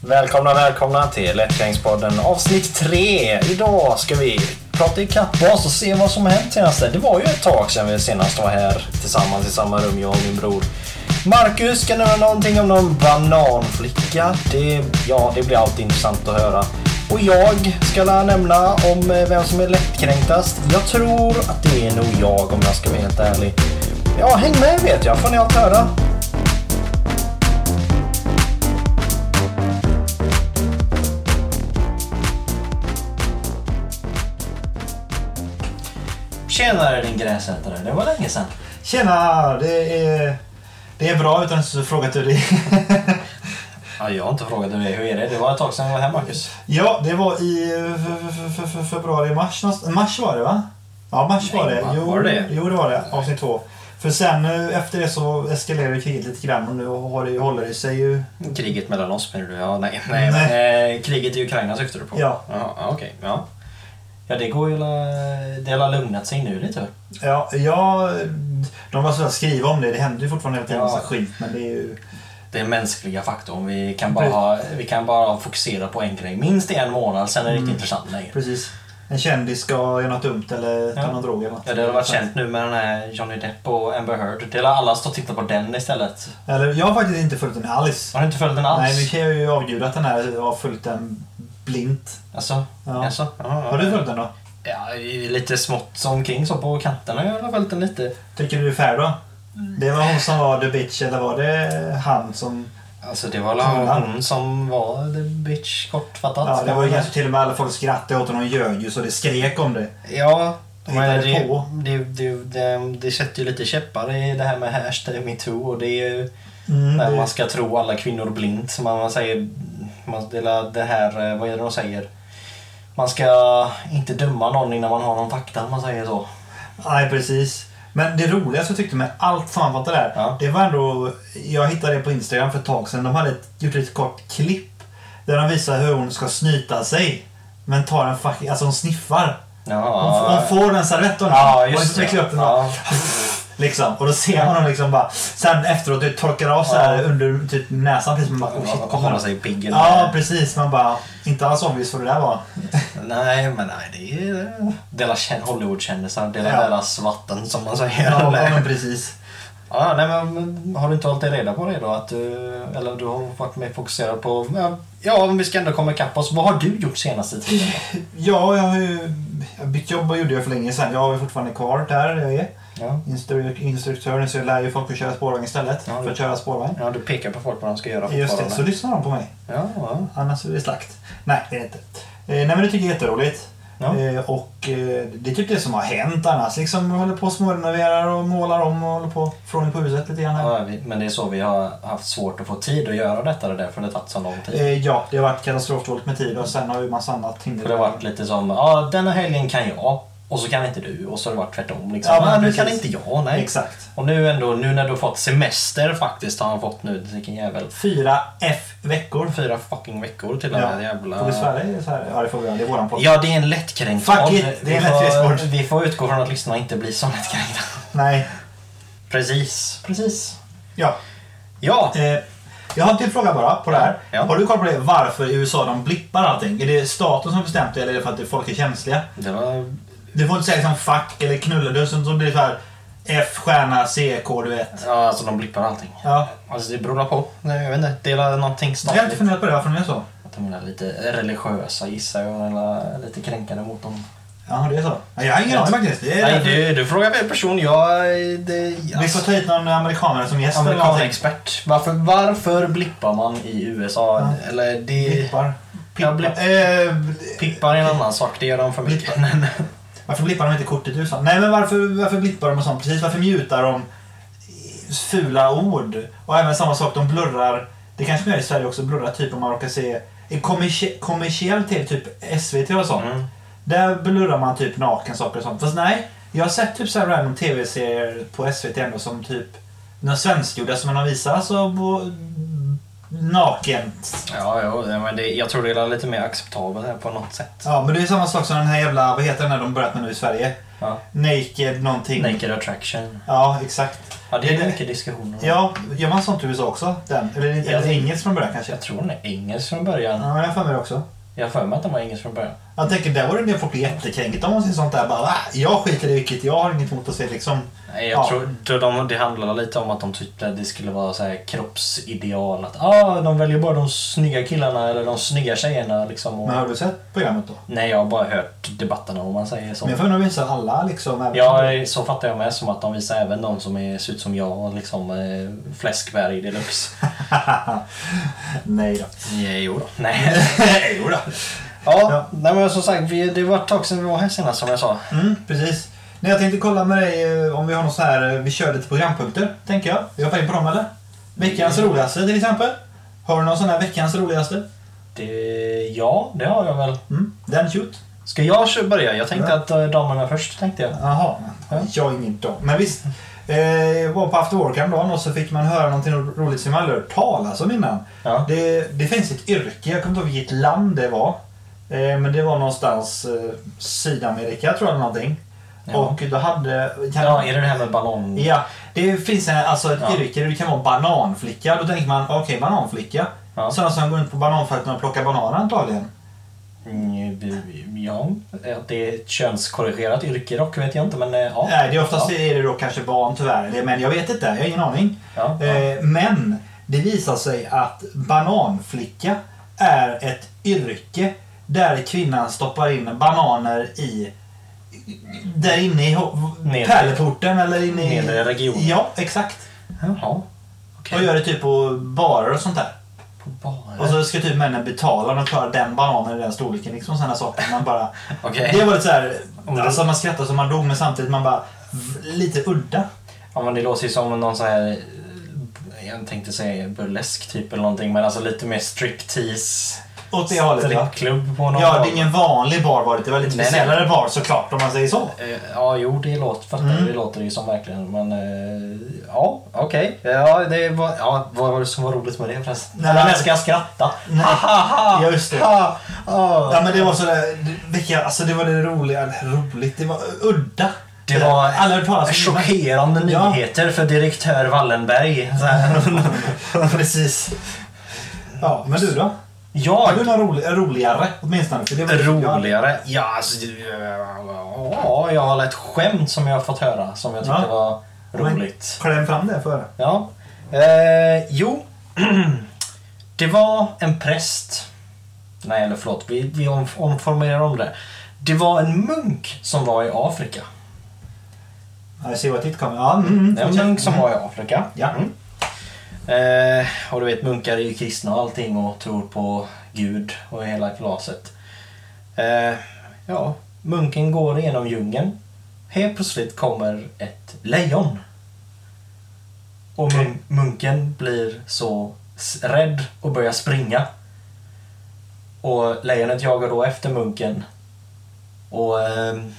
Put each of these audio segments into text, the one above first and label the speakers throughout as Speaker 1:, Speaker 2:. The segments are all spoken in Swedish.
Speaker 1: Välkomna, välkomna till Lättgängspodden avsnitt 3. Idag ska vi prata ikapp oss och se vad som har hänt senaste. Det var ju ett tag sedan vi senast var här tillsammans i samma rum, jag och min bror. Marcus ska nämna någonting om någon bananflicka. Det, ja, det blir alltid intressant att höra. Och jag ska la nämna om eh, vem som är lättkränktast. Jag tror att det är nog jag om jag ska vara helt ärlig. Ja, häng med vet jag, får ni allt höra. Tjenare din gräsätare, det var länge sedan.
Speaker 2: Tjena! Det är, det är bra utan att du frågat hur det är.
Speaker 1: Ja, jag har inte frågat dig hur är det? Det var ett tag sedan jag var här Marcus.
Speaker 2: ja, det var i eh, fe- fe- fe- fe- februari, mars någonstans. Mars var det va? Ja, mars var
Speaker 1: Nej,
Speaker 2: det.
Speaker 1: va?
Speaker 2: Jo,
Speaker 1: Var det?
Speaker 2: jo, det var det. Avsnitt två. För sen eh, efter det så eskalerade kriget lite grann och nu har det, håller det sig ju.
Speaker 1: Kriget mellan oss menar du? Ja, nej. nej,
Speaker 2: Nej.
Speaker 1: Men, eh, kriget i Ukraina syftar du på?
Speaker 2: Ja.
Speaker 1: Jaha, Ja, okej. Ja. ja, det går ju... la- Det har lugnat sig nu lite.
Speaker 2: Ja, ja de var så att skriva om det. Det händer ju fortfarande hela tiden
Speaker 1: Ja.
Speaker 2: massa skit men det är ju...
Speaker 1: Det är mänskliga faktorn. Vi kan bara, ha, vi kan bara fokusera på en grej. Minst i en månad, sen är det inte intressant längre.
Speaker 2: Precis. En kändis ska göra något dumt eller ta
Speaker 1: Ja.
Speaker 2: någon drog eller något.
Speaker 1: Ja, det har varit känt nu med den här Johnny Depp och Amber Heard. Det har alla stått och tittat på den istället.
Speaker 2: Eller, jag har faktiskt inte följt den alls.
Speaker 1: Har du inte följt den alls?
Speaker 2: Nej, vi har ju avgudat den här och har följt den blint.
Speaker 1: Alltså?
Speaker 2: Ja.
Speaker 1: alltså? Ja, ja.
Speaker 2: Har du följt den då?
Speaker 1: Ja, lite smått omkring så på kanterna i alla fall. Lite.
Speaker 2: Tycker du Fair då? Det var hon som var the bitch eller var det han som...
Speaker 1: Alltså det var
Speaker 2: Kolla.
Speaker 1: väl hon som var the bitch kortfattat.
Speaker 2: Ja, det var ju kanske till och med alla folk skrattade åt honom ljög ju så det skrek om det.
Speaker 1: Ja, men
Speaker 2: Hittade
Speaker 1: det,
Speaker 2: på.
Speaker 1: det, det, det, det sätter ju lite käppar i det här med hashtag metoo och det är ju
Speaker 2: Mm,
Speaker 1: när man
Speaker 2: det
Speaker 1: ska tro alla kvinnor blint. Så man, man säger, man, det är det här, eh, vad är det de säger? Man ska inte döma någon innan man har någon fakta, om man säger så.
Speaker 2: nej, precis. Men det roligaste jag tyckte med allt sammanfattat där,
Speaker 1: Ja.
Speaker 2: det var ändå... Jag hittade det på Instagram för ett tag sedan. De hade ett, gjort ett kort klipp där de visar hur hon ska snyta sig. Men tar en fucking... Alltså hon sniffar.
Speaker 1: Ja,
Speaker 2: Hon, hon får den servetten.
Speaker 1: ja,
Speaker 2: hon
Speaker 1: just det.
Speaker 2: trycker upp den.
Speaker 1: Ja.
Speaker 2: Liksom. Och då ser man honom liksom bara... Sen efteråt det torkar av så här
Speaker 1: Ja.
Speaker 2: under typ näsan. Precis, man bara, oh, shit,
Speaker 1: Man
Speaker 2: kommer
Speaker 1: håller
Speaker 2: den?
Speaker 1: sig pigg.
Speaker 2: Ja, precis. Man bara... Inte alls obvious vad det där var.
Speaker 1: Nej, men nej, det är deras Hollywoodkändisar, delar
Speaker 2: Ja.
Speaker 1: deras vatten som man säger.
Speaker 2: Ja,
Speaker 1: Eller-
Speaker 2: men precis.
Speaker 1: ja, nej, men, har du inte hållit dig reda på det då? Att du, eller du har varit mer fokuserad på, ja, ja om vi ska ändå komma ikapp oss, vad har du gjort senaste tiden? Då?
Speaker 2: Ja, jag har ju... Jag bytt jobb och gjorde jag för länge sedan. Jag är fortfarande kvar där jag är.
Speaker 1: Ja.
Speaker 2: Instru- instruktör, så jag lär ju folk att köra spårvagn istället.
Speaker 1: Ja,
Speaker 2: för
Speaker 1: det-
Speaker 2: att köra spårvagn.
Speaker 1: ja, du pekar på folk vad de ska göra
Speaker 2: Just det,
Speaker 1: fortfarande.
Speaker 2: så lyssnar de på mig.
Speaker 1: Ja, ja.
Speaker 2: Annars är det slakt. Nej, det är det inte. Eh, nej, men det tycker jag är jätteroligt.
Speaker 1: Ja.
Speaker 2: Eh, och eh, det är typ det som har hänt annars. Liksom jag håller på och smårenoverar och målar om och håller på från på huset lite grann här.
Speaker 1: Ja, vi- men det är så vi har haft svårt att få tid att göra detta, det är därför det har tagit så lång tid.
Speaker 2: Eh, ja, det har varit katastrofdåligt med tid och sen har ju massa annat hinder.
Speaker 1: För det har varit lite som, ja denna helgen kan jag, och så kan inte du, och så har det varit tvärtom. Liksom.
Speaker 2: Ja,
Speaker 1: Ja,
Speaker 2: men
Speaker 1: nu
Speaker 2: precis.
Speaker 1: kan inte jag, nej.
Speaker 2: Exakt.
Speaker 1: Och nu ändå, nu när du har fått semester faktiskt, har han fått nu, vilken jävel.
Speaker 2: Fyra F veckor.
Speaker 1: Fyra fucking veckor till den här
Speaker 2: Ja.
Speaker 1: jävla...
Speaker 2: Får vi svära i så här? Ja, det får vi göra. Det är våran podd.
Speaker 1: Ja, det är en lättkränkt
Speaker 2: Fuck
Speaker 1: podd.
Speaker 2: it, det är en
Speaker 1: Vi får-
Speaker 2: lättkränkt podd.
Speaker 1: Vi får utgå från att lyssnarna inte blir så lättkränkta.
Speaker 2: Nej.
Speaker 1: Precis. Precis.
Speaker 2: Ja.
Speaker 1: Ja.
Speaker 2: Eh, jag har en till fråga bara på det här.
Speaker 1: Ja.
Speaker 2: Har du koll på det? Varför i USA de blippar allting? Är det staten som bestämt det eller är det för att det- folk är känsliga?
Speaker 1: Det var...
Speaker 2: Du får inte säga som fuck eller knullade så så blir det så här F stjärna CK du vet.
Speaker 1: Ja, alltså de blippar allting.
Speaker 2: Ja.
Speaker 1: Alltså det beror på. Nej, Jag vet inte. Det är väl någonting
Speaker 2: Jag har inte
Speaker 1: statligt.
Speaker 2: funderat på det varför de gör så.
Speaker 1: Att de är lite religiösa gissar jag. Eller lite kränkande mot dem.
Speaker 2: Jaha, det är så. Nej, Jag har ingen
Speaker 1: Ja.
Speaker 2: aning faktiskt. Det är
Speaker 1: Nej, du, du frågar fel person. Jag... Det,
Speaker 2: Vi får ta hit någon amerikanare som gäst eller någonting.
Speaker 1: Amerikanexpert. Varför, varför blippar man i USA?
Speaker 2: Ja.
Speaker 1: Eller det...
Speaker 2: Blippar.
Speaker 1: Ja,
Speaker 2: Pippar.
Speaker 1: blipp-
Speaker 2: Eh,
Speaker 1: Pippar är en annan sak, det gör de för mycket.
Speaker 2: varför blippar de inte kortet i USA? Nej, men varför, varför blippar de och sånt? Precis, varför mutar de fula ord? Och även samma sak, de blurrar. Det kanske man gör i Sverige också, blurrar typ om man råkar se i kommersie- kommersiell tv, typ SVT och sånt.
Speaker 1: Mm.
Speaker 2: Där blurrar man typ nakensaker och sånt. Fast nej, jag har sett typ så här random alltså, tv-serier på SVT ändå som typ några svenskgjorda som man har visat så bo- nakent.
Speaker 1: Ja, ja men det, jag tror det är lite mer acceptabelt här på något sätt.
Speaker 2: Ja, men det är samma sak som den här jävla, vad heter den här de börjat med nu i Sverige?
Speaker 1: Ja.
Speaker 2: Naked någonting.
Speaker 1: Naked attraction.
Speaker 2: Ja, exakt.
Speaker 1: Ja, det
Speaker 2: Det-
Speaker 1: är mycket diskussioner om.
Speaker 2: Ja, gör man sånt i USA också? Den? Eller är det
Speaker 1: Ja.
Speaker 2: är det engelsk från början kanske?
Speaker 1: Jag tror den är engelsk från början.
Speaker 2: Ja, jag har för mig det också.
Speaker 1: Jag har för mig att den var engelsk från början.
Speaker 2: Jag tänker, där var det en del folk blev jättekränkta om man säger sånt där. Bara, "Va? jag skiter i vilket, jag har inget emot att se liksom.
Speaker 1: Nej, jag
Speaker 2: Ja.
Speaker 1: tror tror de, det handlade lite om att de tyckte att det skulle vara så här kroppsideal. Att ah, de väljer bara de snygga killarna eller de snygga tjejerna. Liksom, och...
Speaker 2: Men har du sett programmet då?
Speaker 1: Nej, jag har bara hört debatterna om man säger så.
Speaker 2: Men jag får nog visa alla liksom. även-
Speaker 1: Ja, så fattar jag med. Som att de visar även de som är, ser ut som jag. Liksom eh, fläskberg deluxe.
Speaker 2: Nej då.
Speaker 1: Nej, jo då. Nej.
Speaker 2: Nej, jo då.
Speaker 1: Ja,
Speaker 2: Ja.
Speaker 1: Nej, men som sagt, vi, det var ett tag sedan vi var här senast som jag sa.
Speaker 2: Mm, precis. Nej, jag tänkte kolla med dig eh, om vi har någon så här, eh, vi kör lite programpunkter, tänker jag. Vi hoppar in på dem eller? Veckans roligaste till exempel. Har du någon sån här veckans roligaste?
Speaker 1: Det, ja, det har jag väl.
Speaker 2: Mm, den shoot.
Speaker 1: Ska jag kö- börja? Jag tänkte
Speaker 2: Ja.
Speaker 1: att eh, damerna först, tänkte jag.
Speaker 2: Jaha,
Speaker 1: Ja.
Speaker 2: jag är ingen dam. Men visst. Eh, var på After Work häromdagen och så fick man höra någonting ro- roligt som man aldrig hört talas om innan.
Speaker 1: Ja.
Speaker 2: Det, det finns ett yrke, jag kommer inte ihåg vilket land det var. Eh, men det var någonstans eh, Sydamerika tror jag eller någonting.
Speaker 1: Ja.
Speaker 2: Och då hade...
Speaker 1: Ja, är det det här med ballong?
Speaker 2: Ja, det finns en, alltså ett
Speaker 1: Ja.
Speaker 2: yrke där du kan vara bananflicka. Då tänker man, okej bananflicka.
Speaker 1: Ja.
Speaker 2: Sådana som går runt på bananfälten och plockar bananer antagligen.
Speaker 1: Mm, det- Ja, att det är ett könskorrigerat yrke dock vet jag inte, men eh, ja.
Speaker 2: Nej, det är oftast
Speaker 1: Ja.
Speaker 2: är det då kanske barn tyvärr. Eller- Men jag vet inte, jag har ingen aning.
Speaker 1: Ja, ja.
Speaker 2: Eh, Men det visar sig att bananflicka är ett yrke där kvinnan stoppar in bananer i där inne i ho-
Speaker 1: Nedre-
Speaker 2: pärleporten eller inne i...
Speaker 1: nedre regionen.
Speaker 2: Ja, exakt.
Speaker 1: Jaha. Okej.
Speaker 2: Och gör det typ på barer och sånt där.
Speaker 1: På barer.
Speaker 2: Och så ska typ männen betala om de klarar den bananen i den storleken. Liksom sådana saker. Man bara,
Speaker 1: Okej.
Speaker 2: det var lite såhär,
Speaker 1: Om det-
Speaker 2: alltså man skrattar som man dog men samtidigt man bara, v- lite udda.
Speaker 1: Ja, men det låter ju som någon sån här... eh, Jag tänkte säga burlesk typ eller någonting, men alltså lite mer striptease.
Speaker 2: Åt det hållet ja.
Speaker 1: Strippklubb på någon
Speaker 2: Ja,
Speaker 1: bar.
Speaker 2: det är ingen vanlig bar var det. Det var
Speaker 1: Nej,
Speaker 2: lite
Speaker 1: nej.
Speaker 2: speciellare bar såklart om man säger så.
Speaker 1: Eh, Ja, jo, det låter, fattar,
Speaker 2: Mm.
Speaker 1: det låter ju som verkligen. Men eh, ja, okej. Ja, det var, ja, vad var det som var roligt med det förresten?
Speaker 2: Nej,
Speaker 1: Nej, men
Speaker 2: men-
Speaker 1: ska jag skratta?
Speaker 2: Nej.
Speaker 1: Ha, ha, ha.
Speaker 2: Ja, just det.
Speaker 1: Ha, ha.
Speaker 2: Ja men det var sådär, det- vilka, alltså det var det roliga, roligt, det var udda.
Speaker 1: Det var
Speaker 2: Alla hört talas om
Speaker 1: chockerande
Speaker 2: Ja.
Speaker 1: nyheter för direktör Wallenberg. Så här.
Speaker 2: Precis. Ja, men du då?
Speaker 1: Ja,
Speaker 2: Har du något rolig, roligare åtminstone? För det var-
Speaker 1: roligare. Ja, alltså, ja, jag har ett skämt som jag har fått höra som jag tyckte
Speaker 2: Ja.
Speaker 1: var
Speaker 2: Men-
Speaker 1: roligt.
Speaker 2: Kläm fram det för höra.
Speaker 1: Ja. Eh, jo. det var en präst. Nej, eller förlåt. Vi, vi om- omformulerar om det. Det var en munk som var i Afrika.
Speaker 2: Ja, Jag ser vad titt kommer. Ja, mm, mm,
Speaker 1: En
Speaker 2: fortsätt.
Speaker 1: munk som var i Afrika.
Speaker 2: Ja.
Speaker 1: Mm. Eh, och du vet, munkar är ju kristna och allting och tror på Gud och hela kalaset. Eh, ja, munken går genom djungeln. Helt plötsligt kommer ett lejon. Och mun- munken blir så s- rädd och börjar springa. Och lejonet jagar då efter munken. Och ehm,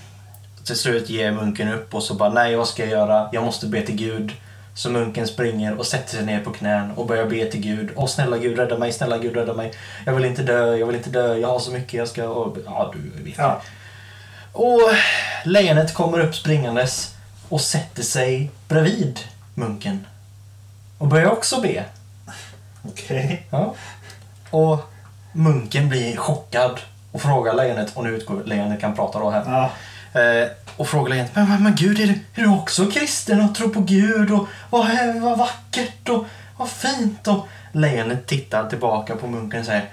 Speaker 1: till slut ger munken upp och så bara nej, vad ska jag göra? Jag måste be till Gud. Så munken springer och sätter sig ner på knän och börjar be till Gud. Åh snälla Gud rädda mig, snälla Gud rädda mig. Jag vill inte dö, jag vill inte dö, jag har så mycket jag ska... och- Ja, du vet.
Speaker 2: Ja.
Speaker 1: Och lejonet kommer upp springandes och sätter sig bredvid munken. Och börjar också be.
Speaker 2: Okej.
Speaker 1: Ja. Och munken blir chockad och frågar lejonet, och nu utgår lejonet kan prata då här.
Speaker 2: Ja.
Speaker 1: Eh, och frågar lejonet, men, men, men gud, är du, är du också kristen och tror på Gud? Och vad, hä- vad vackert och vad fint. Och lejonet tittar tillbaka på munken och säger,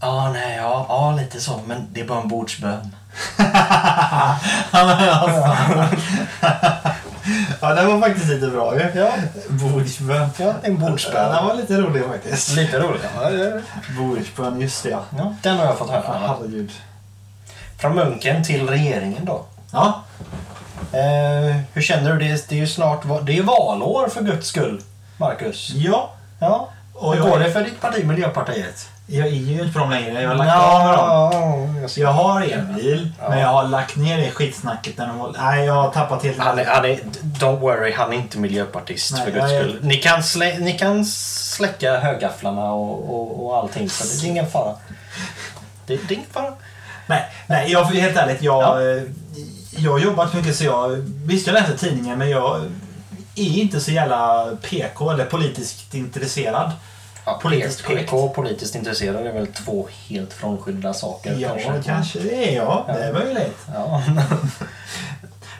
Speaker 1: ja, nej, ja, ja, lite så, men det är bara en bordsbön.
Speaker 2: ja, men vad fan. ja, det var faktiskt lite bra ju.
Speaker 1: Ja.
Speaker 2: Bordsbön.
Speaker 1: Ja, en
Speaker 2: Ja,
Speaker 1: bordsbön.
Speaker 2: Den var lite rolig faktiskt.
Speaker 1: Lite roligt. Ja,
Speaker 2: Bordsbön, just det ja.
Speaker 1: ja, den har jag fått höra.
Speaker 2: Herregud.
Speaker 1: Från munken till regeringen då.
Speaker 2: Ja.
Speaker 1: Eh, hur känner du? Det, det är ju snart va- det är valår för guds skull, Marcus.
Speaker 2: ja.
Speaker 1: Ja.
Speaker 2: Och
Speaker 3: Hur går
Speaker 2: jag,
Speaker 3: det för ditt parti, Miljöpartiet?
Speaker 2: jag är ju inte på dem längre. Jag har lagt av med dem.
Speaker 3: Ja, jag
Speaker 2: Så jag har elbil,
Speaker 3: Ja.
Speaker 2: men jag har lagt ner det skitsnacket när de håller... Nej, jag har tappat helt...
Speaker 1: Han är, han är, don't worry, han är inte miljöpartist
Speaker 2: Nej,
Speaker 1: för guds
Speaker 2: jag är-
Speaker 1: skull. Ni kan, slä, ni kan släcka högafflarna och, och, och allting, så det, det är ingen fara. Det, det är ingen fara.
Speaker 2: Nej, nej jag, helt ärligt. Jag, eh, jag har jobbat mycket så jag... Visst, jag läser tidningen, men jag är inte så jävla PK eller politiskt intresserad.
Speaker 1: Ja,
Speaker 2: Politiskt
Speaker 1: politiskt
Speaker 2: korrekt.
Speaker 1: PK och politiskt intresserad är väl två helt frånskilda saker.
Speaker 2: Ja,
Speaker 1: kanske.
Speaker 2: kanske det är jag. Det är möjligt.
Speaker 1: Ja.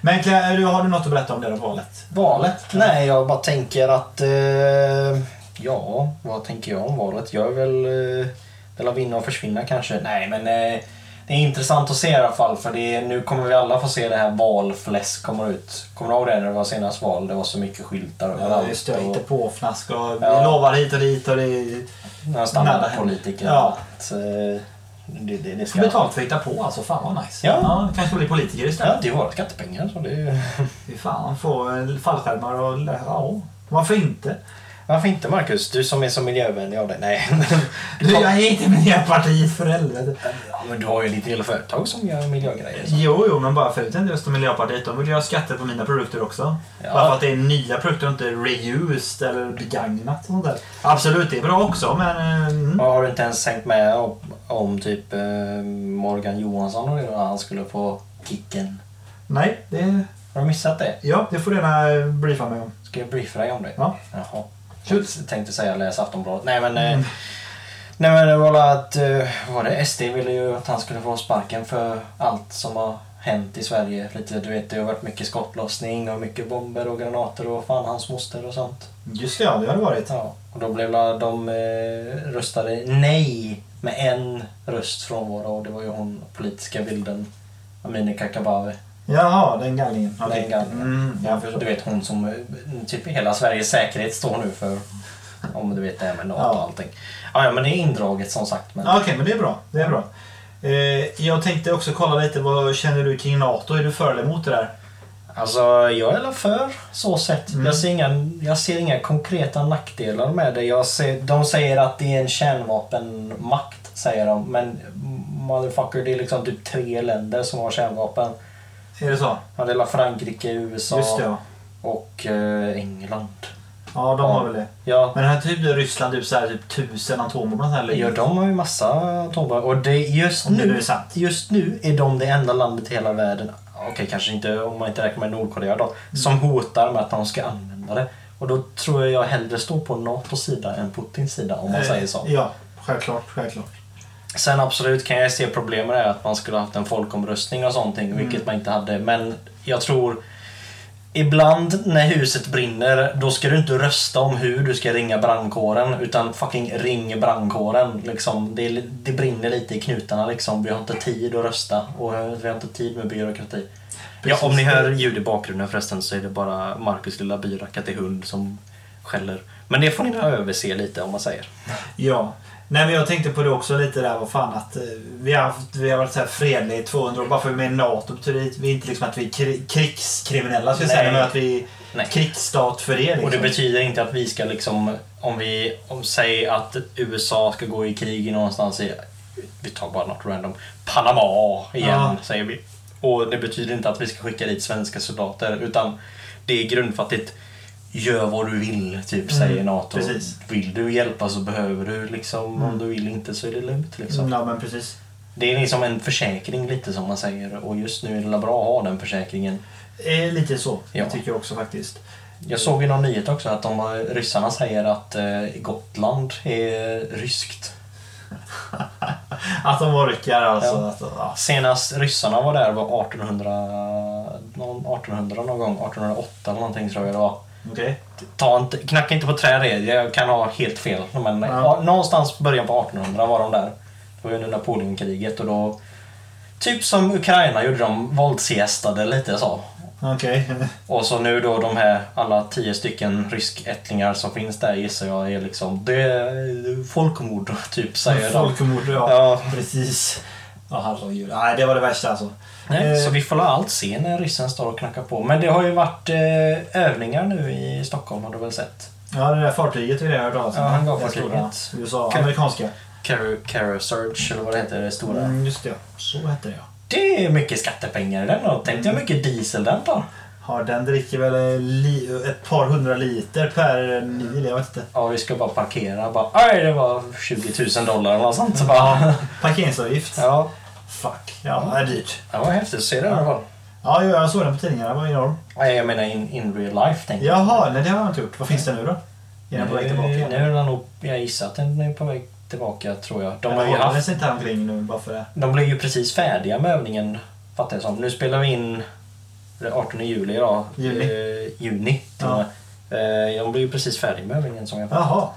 Speaker 2: Men Claire, du- har du något att berätta om det här valet?
Speaker 1: Valet? Nej, jag bara tänker att... Eh, ja, vad tänker jag om valet? Jag är väl... Eh, det lär vinna och försvinna kanske. Nej, men eh, det är intressant att se i alla fall. För det, är- nu kommer vi alla få se det här valfläsk kommer ut. Kommer du ihåg det när det var senast val? Det var så mycket skyltar överallt.
Speaker 2: Just det,
Speaker 1: och-
Speaker 2: inte påfnask och vi
Speaker 1: Ja.
Speaker 2: lovar hit och dit och det är...
Speaker 1: Några standardpolitiker.
Speaker 2: Ja.
Speaker 1: Att, eh, det, det, det
Speaker 2: Ska
Speaker 1: ska...
Speaker 2: betalt för att hitta på alltså. Fan vad nice.
Speaker 1: Ja.
Speaker 2: ja kanske bli politiker istället.
Speaker 1: Ja, det är våra skattepengar. Så det är...
Speaker 2: Fy fan, få eh, fallskärmar och... Ja, varför inte?
Speaker 1: Varför inte Marcus? Du som är så miljövänlig av dig. Nej.
Speaker 2: Du, jag är inte Miljöpartiet för helvete.
Speaker 1: Ja, men du har ju lite hela företag som gör miljögrejer. så.
Speaker 2: Jo, jo, men bara förut inte rösta Miljöpartiet. De vill ju ha skatter på mina produkter också.
Speaker 1: Ja.
Speaker 2: Bara för att det är nya produkter och inte reused eller begagnat. Och sånt där. Absolut, det är bra också, men... eh, Mm.
Speaker 1: Ja, Har du inte ens hängt med om, om typ eh, Morgan Johansson och det då, när han skulle få kicken?
Speaker 2: Nej, det...
Speaker 1: Har du missat det?
Speaker 2: Ja, det får du gärna eh, briefa mig om.
Speaker 1: Ska jag briefa dig om det?
Speaker 2: Ja.
Speaker 1: Jaha.
Speaker 2: Shoot.
Speaker 1: Tänkte säga läs Aftonbladet. Nej men... eh, Nej men det var väl att... eh, Var det SD ville ju att han skulle få sparken för allt som har hänt i Sverige. Lite, du vet, det har varit mycket skottlossning och mycket bomber och granater och fan hans moster och sånt.
Speaker 2: Just det, ja, det har det varit.
Speaker 1: Ja, och då blev la- de eh, röstade nej med en röst från våra och det var ju hon politiska bilden Amineh Kakabaveh.
Speaker 2: Jaha, den gallingen. Okej.
Speaker 1: Den gallingen.
Speaker 2: Mm, jag
Speaker 1: Du
Speaker 2: förstår.
Speaker 1: vet hon som eh, typ hela Sveriges säkerhet står nu för. Om du vet det här med Nato och
Speaker 2: Ja.
Speaker 1: allting. Ja, ja, men det är indraget som sagt. Men...
Speaker 2: Ja, Okej, men det är bra. Det är bra. Eh, jag tänkte också kolla lite, vad känner du kring NATO? Är du för eller emot det där?
Speaker 1: Alltså, jag är alla för så sett.
Speaker 2: Mm.
Speaker 1: Jag, ser inga, jag ser inga konkreta nackdelar med det. Jag ser, de säger att det är en kärnvapenmakt, säger de. Men motherfucker, det är liksom typ tre länder som har kärnvapen.
Speaker 2: Är det så?
Speaker 1: Ja, det är la Frankrike, USA
Speaker 2: Just det, ja.
Speaker 1: och eh, England.
Speaker 2: Ja, de
Speaker 1: Ja.
Speaker 2: har väl det.
Speaker 1: Ja,
Speaker 2: Men den här typ Ryssland typ så här, typ tusen atombomber och sånt här
Speaker 1: ja,
Speaker 2: lägger.
Speaker 1: de har ju massa atombomber. Och det, just,
Speaker 2: Om det nu är
Speaker 1: nu,
Speaker 2: sant.
Speaker 1: just nu är de det enda landet i hela världen, okej kanske inte om man inte räknar med Nordkorea då,
Speaker 2: Mm.
Speaker 1: som hotar med att de ska använda det. Och då tror jag jag hellre står på NATOs sida än Putins sida om man
Speaker 2: Eh,
Speaker 1: säger så.
Speaker 2: Ja, självklart. självklart.
Speaker 1: Sen absolut kan jag se problem med det här, att man skulle haft en folkomröstning och sånt, vilket man inte hade. Men jag tror Ibland när huset brinner, då ska du inte rösta om hur du ska ringa brandkåren. Utan fucking ring brandkåren. Liksom, det, är li- det brinner lite i knutarna liksom. Vi har inte tid att rösta och eh, vi har inte tid med byråkrati.
Speaker 2: Precis.
Speaker 1: Ja, om ni hör ljud i bakgrunden förresten så är det bara Marcus lilla byracka till hund som skäller. Men det får ni överse lite om man säger.
Speaker 2: Ja. Nej men jag tänkte på det också lite där, vad fan att eh, vi har, haft, vi har varit så här fredliga i 200 år. Bara för att vi är med i NATO betyder det vi inte liksom att vi är kri- krigskriminella ska jag säga,
Speaker 1: Nej.
Speaker 2: men att vi är
Speaker 1: Nej.
Speaker 2: krigsstat för det. Liksom.
Speaker 1: Och det betyder inte att vi ska liksom, om vi om, säger att USA ska gå i krig i någonstans i, vi tar bara något random, Panama igen
Speaker 2: Ja.
Speaker 1: säger vi. Och det betyder inte att vi ska skicka dit svenska soldater utan det är grundfattigt Gör vad du vill, typ säger NATO.
Speaker 2: Mm, precis. Mm.
Speaker 1: Vill du hjälpa så behöver du. liksom Om du vill inte så är det lugnt. Liksom.
Speaker 2: Ja men precis.
Speaker 1: Det är liksom en försäkring lite som man säger och just nu är det bra att ha den försäkringen.
Speaker 2: Eh, lite så,
Speaker 1: Ja.
Speaker 2: det tycker jag också faktiskt.
Speaker 1: Jag såg i någon nyhet också att de, ryssarna säger att eh, Gotland är ryskt.
Speaker 2: Att de orkar alltså.
Speaker 1: Ja.
Speaker 2: Att, ja.
Speaker 1: Senast ryssarna var där var 1800, någon 1800 någon gång, 1808 eller någonting tror jag det var.
Speaker 2: Okej.
Speaker 1: Ta inte, knacka inte på trä det, jag kan ha helt fel. Men
Speaker 2: Ja.
Speaker 1: ja. någonstans början på 1800 var de där. Det var ju under Napoleonkriget och då, typ som Ukraina gjorde de, våldsgästade lite så.
Speaker 2: Okej.
Speaker 1: Och så nu då de här alla tio stycken ryskättlingar som finns där gissar jag är liksom det är folkmord typ säger de.
Speaker 2: Folkmord, ja.
Speaker 1: Ja.
Speaker 2: Precis. Ja, herregud. Nej, det var det värsta alltså.
Speaker 1: Nej,
Speaker 2: Eh,
Speaker 1: så vi får la allt se när ryssen står och knackar på. Men det har ju varit eh, övningar nu i Stockholm har du väl sett?
Speaker 2: Ja, det där fartyget är det jag har hört talas om.
Speaker 3: Ja, han var
Speaker 2: Det där
Speaker 3: fartyget.
Speaker 2: stora USA,
Speaker 1: Kan-
Speaker 2: amerikanska.
Speaker 1: Car- Carasurge eller vad det heter, det stora.
Speaker 2: Mm, just det, så hette det ja.
Speaker 1: Det är mycket skattepengar i den då. Tänk dig hur mycket diesel den tar.
Speaker 2: Ja, den dricker väl li- ett par hundra liter per mil, jag vet inte.
Speaker 1: Ja, vi ska bara parkera. Bara, Aj, det var 20 000 dollar eller något sånt. Så bara,
Speaker 2: Parkeringsavgift.
Speaker 1: ja,
Speaker 2: Fuck. Ja, det är dyrt.
Speaker 1: det var häftigt att se det i alla fall.
Speaker 2: Ja, jo, jag såg den på tidningarna. Det var enorm.
Speaker 1: Nej, jag menar in, in real life tänkte jag.
Speaker 2: Jaha, nej det har jag inte gjort. Vad finns det nu då? Är den på väg tillbaka?
Speaker 1: Nu är den nog, jag gissar att den är på väg tillbaka tror jag. De har ju
Speaker 2: jag
Speaker 1: haft,
Speaker 2: haft... inte här omkring nu bara för det.
Speaker 1: de blev ju precis färdiga med övningen fattar jag som. Nu spelar vi in det är 18 juli idag.
Speaker 2: Juni.
Speaker 1: Eh, juni till
Speaker 2: Ja.
Speaker 1: och med. Eh, de blev ju precis färdiga med övningen som jag
Speaker 2: Jaha.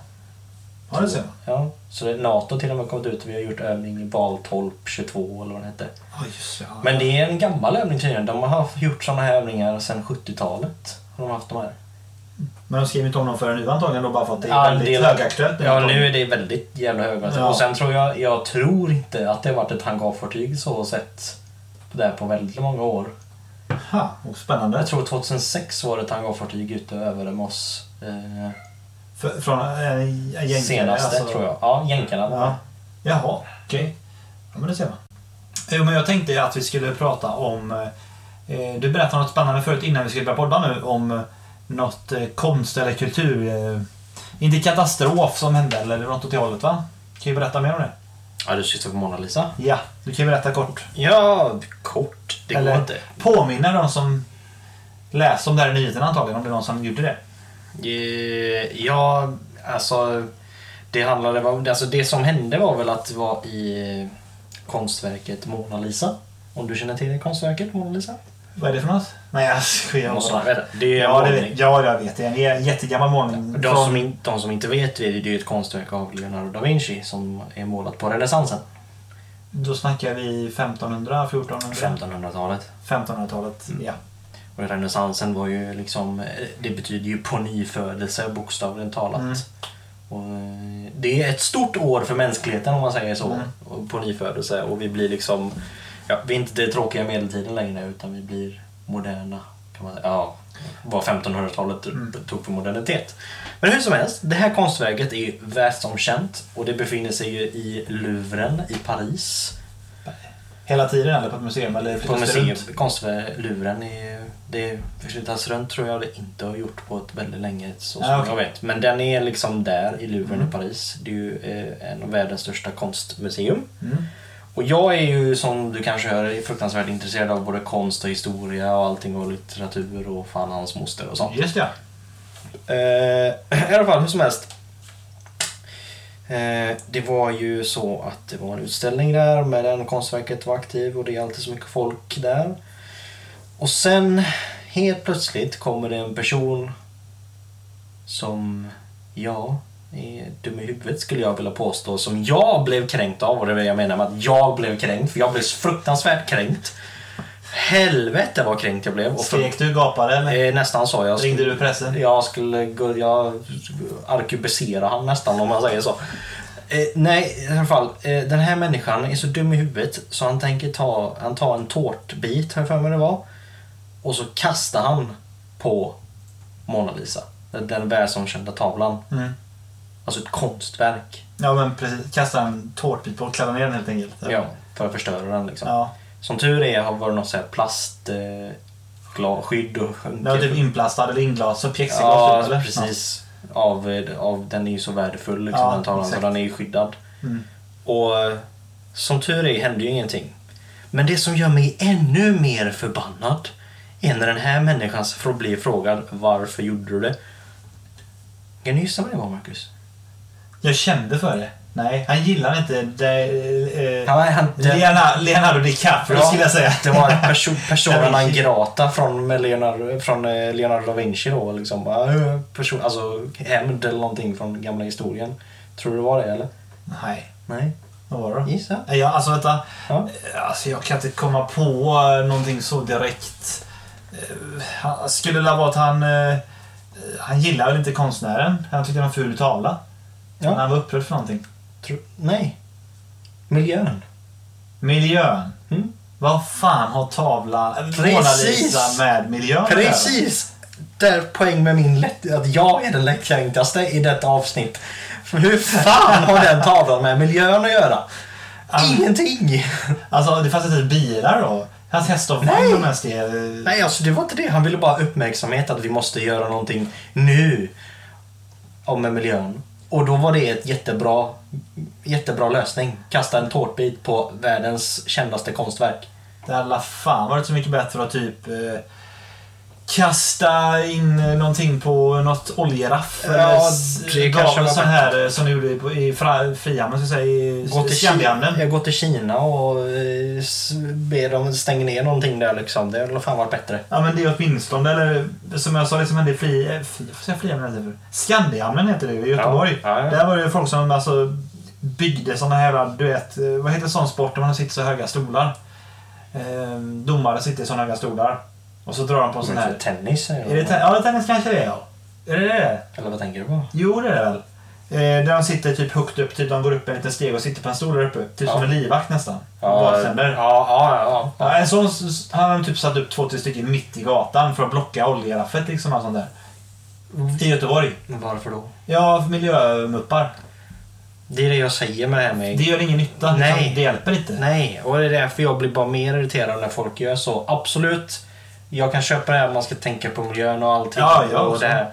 Speaker 2: Ja, det ser man.
Speaker 1: Ja, så det, Nato till och med har kommit ut och vi har gjort övning i Valtorp 22 eller vad det hette.
Speaker 2: Ja, just det. Ja.
Speaker 1: Men det är en gammal övning tydligen. De har haft, gjort sådana här övningar sedan 70-talet. Har de haft de här.
Speaker 2: Men de skriver inte om dem förrän nu antagligen då bara för att det är
Speaker 1: Ja,
Speaker 2: väldigt
Speaker 1: det-
Speaker 2: högaktuellt.
Speaker 1: Ja, nu är det väldigt jävla höga.
Speaker 2: Ja.
Speaker 1: Och sen tror jag, jag tror inte att det har varit ett hangarfartyg så sett där på väldigt många år.
Speaker 2: Ha, och oh, spännande.
Speaker 1: Jag tror 2006 var det ett hangarfartyg ute över med oss. Eh,
Speaker 2: För, från en äh, gäng
Speaker 1: senaste tror jag. Ja, jänkarna.
Speaker 2: Ja. Jaha, okej. Ja, men det ser man. Jo, men jag tänkte ju att vi skulle prata om... Eh, du berättade något spännande förut innan vi skulle börja podda nu om eh, något eh, konst eller kultur... Eh, inte katastrof som hände eller något åt det hållet va? Kan ju berätta mer om det.
Speaker 1: Ja, du syftar på Mona Lisa?
Speaker 2: Ja, du kan ju berätta kort.
Speaker 1: Ja, kort. Det
Speaker 2: eller
Speaker 1: går inte.
Speaker 2: påminna de som läste om det här i nyheterna antagligen om det är någon som gjorde det.
Speaker 1: Eh, Ja, alltså det, handlade om, alltså det som hände var väl att det var i konstverket Mona Lisa. Om du känner till det konstverket Mona Lisa?
Speaker 2: Vad är det för något? Nej, jag skojar
Speaker 1: Måste
Speaker 2: bara.
Speaker 1: man veta. Det är en
Speaker 2: Ja, det
Speaker 1: målning.
Speaker 2: vet, ja, jag vet. Det är en jättegammal målning.
Speaker 1: De som, in, de som inte vet det, det är ju ett konstverk av Leonardo da Vinci som är målat på renässansen.
Speaker 2: Då snackar vi 1500, 1400?
Speaker 1: 1500-talet.
Speaker 2: 1500-talet,
Speaker 1: Mm.
Speaker 2: ja.
Speaker 1: Och renässansen var ju liksom, eh, det betyder ju på nyfödelse bokstavligen talat.
Speaker 2: Mm.
Speaker 1: Och eh, det är ett stort år för mänskligheten om man säger så,
Speaker 2: Mm.
Speaker 1: och på nyfödelse. Och vi blir liksom, ja, vi är inte det tråkiga medeltiden längre utan vi blir moderna. Kan man säga. Ja, vad 1500-talet
Speaker 2: Mm.
Speaker 1: tog för modernitet. Men hur som helst, det här konstverket är världsomkänt och det befinner sig ju i Louvren i Paris.
Speaker 2: Hela tiden eller på ett museum? Eller
Speaker 1: På
Speaker 2: flyttas det
Speaker 1: museum,
Speaker 2: runt?
Speaker 1: konstluren är det förflyttas runt tror jag det inte har gjort på ett väldigt länge så som
Speaker 2: Ja, okej.
Speaker 1: jag vet. Men den är liksom där i Louvren
Speaker 2: Mm.
Speaker 1: i Paris. Det är ju eh, en av världens största konstmuseum.
Speaker 2: Mm.
Speaker 1: Och jag är ju som du kanske hör är fruktansvärt intresserad av både konst och historia och allting och litteratur och fan hans moster och sånt.
Speaker 2: Just ja.
Speaker 1: Eh, I alla fall, hur som helst. Eh, det var ju så att det var en utställning där med den konstverket var aktiv och det är alltid så mycket folk där. Och sen helt plötsligt kommer det en person som, ja, är dum i huvudet skulle jag vilja påstå, som jag blev kränkt av. Och det är det jag menar med att jag blev kränkt, för jag blev fruktansvärt kränkt. Helvete vad kränkt jag blev. Och för,
Speaker 2: Skrek du, gapade eller
Speaker 1: eh, nästan så. Jag
Speaker 2: ringde du pressen?
Speaker 1: jag skulle gå- jag arkebusera han nästan om man säger så. Eh, nej, i alla fall. Eh, den här människan är så dum i huvudet så han tänker ta, han tar en tårtbit, har jag för mig det var. Och så kastar han på Mona Lisa. Den- Den världsomkända tavlan.
Speaker 2: Mm.
Speaker 1: Alltså ett konstverk.
Speaker 2: Ja men precis, kasta en tårtbit på och kladda ner den helt enkelt.
Speaker 1: Ja, för att förstöra den liksom.
Speaker 2: Ja,
Speaker 1: Som tur är har varit något så här plast, eh, gla, skydd och
Speaker 2: det var typ inplastad eller inglas och pjäxiglas
Speaker 1: Ja,
Speaker 2: typ, eller?
Speaker 1: precis. Av, eh, av, den är ju så värdefull, liksom,
Speaker 2: Ja,
Speaker 1: den tavlan, så
Speaker 2: exakt.
Speaker 1: den är ju skyddad.
Speaker 2: Ja. Mm.
Speaker 1: Och eh, som tur är händer ju ingenting. Men det som gör mig ännu mer förbannad är när den här människan får bli frågad varför gjorde du det? Kan du gissa vad det var, Marcus?
Speaker 2: Jag kände för det. Nej, han gillar inte det, eh,
Speaker 1: Han, han, det,
Speaker 2: Leonardo, Leonardo DiCaprio
Speaker 1: Ja.
Speaker 2: skulle jag säga.
Speaker 1: det var perso personen
Speaker 2: Da
Speaker 1: man
Speaker 2: Vinci.
Speaker 1: grata från med Leonardo, från eh, Leonardo da Vinci då. Liksom. Bara, eh, Person, alltså hämnd eller någonting från gamla historien. Tror du det var det eller?
Speaker 2: Nej,
Speaker 1: Nej.
Speaker 2: vad var det då?
Speaker 1: Gissa.
Speaker 2: Nej, Jag, alltså vänta.
Speaker 1: Ja.
Speaker 2: Alltså jag kan inte komma på eh, någonting så direkt. Eh, Han skulle det vara att han... eh, Han gillar väl inte konstnären. Han tyckte det var en ful tavla.
Speaker 1: Ja.
Speaker 2: Han var upprörd för någonting.
Speaker 1: Tro- Nej. Miljön.
Speaker 2: Miljön.
Speaker 1: Mm.
Speaker 2: Vad fan har tavlan... eh, Mona
Speaker 1: Precis.
Speaker 2: Lisa med miljön att göra?
Speaker 1: Precis! där poäng med min lätt, att jag är den lättkränkaste i detta avsnitt. För hur fan har den tavlan med miljön att göra? Ingenting!
Speaker 2: Alltså det fanns inte bilar då? Hans hästar
Speaker 1: Nej.
Speaker 2: vann om ens det. eh,
Speaker 1: Nej, alltså det var inte det. Han ville bara ha uppmärksamhet att vi måste göra någonting nu om med miljön. Och då var det ett jättebra, jättebra lösning. Kasta en tårtbit på världens kändaste konstverk.
Speaker 2: Jävla fan var det så mycket bättre att typ eh, kasta in eh, någonting på något oljeraff.
Speaker 1: Ja,
Speaker 2: eller s-
Speaker 1: det
Speaker 2: gav
Speaker 1: kanske
Speaker 2: en
Speaker 1: var
Speaker 2: sån
Speaker 1: bättre.
Speaker 2: här eh, som du gjorde på- i fra- frihamnen, så att säga, i
Speaker 1: Gå till, Kina,
Speaker 2: Skandihamnen.
Speaker 1: jag går till Kina och eh, s- ber dem stänga ner någonting där liksom. Det hade fan varit bättre.
Speaker 2: Ja men det är åtminstone, eller som jag sa, det som hände i Fri... eh, Fri vad säger jag Frihamnen heter det? Skandihamnen heter det i Göteborg.
Speaker 1: Ja, ja, ja.
Speaker 2: Där var det ju folk som alltså byggde såna här, du vet, eh, vad heter sån sport där man sitter så höga stolar? Eh, domare sitter i så höga stolar. Och så drar de på en sån
Speaker 1: Men typ
Speaker 2: här...
Speaker 1: för tennis Mm. är det,
Speaker 2: Är det ten- ja, tennis kanske det är ja. Är det det?
Speaker 1: Eller vad tänker du på?
Speaker 2: Jo, det är det väl. Eh, där de sitter typ högt upp, typ de går upp en liten steg och sitter på en stol där uppe. Typ
Speaker 1: Ja.
Speaker 2: som en livvakt nästan.
Speaker 1: ja,
Speaker 2: Badsänder.
Speaker 1: ja, ja.
Speaker 2: Ja, en sån, han har typ satt upp två, tre stycken mitt i gatan för att blocka oljeraffet liksom. Och sånt där.
Speaker 1: Mm.
Speaker 2: I Göteborg.
Speaker 1: Varför då?
Speaker 2: Ja, miljömuppar.
Speaker 1: Det är det jag säger med det här med
Speaker 2: Det gör ingen nytta. liksom.
Speaker 1: Nej.
Speaker 2: Det hjälper inte.
Speaker 1: Nej, och det är därför jag blir bara mer irriterad när folk gör så. Absolut, jag kan köpa det här man ska tänka på miljön och allting.
Speaker 2: Ja, jag
Speaker 1: och
Speaker 2: också.
Speaker 1: det här.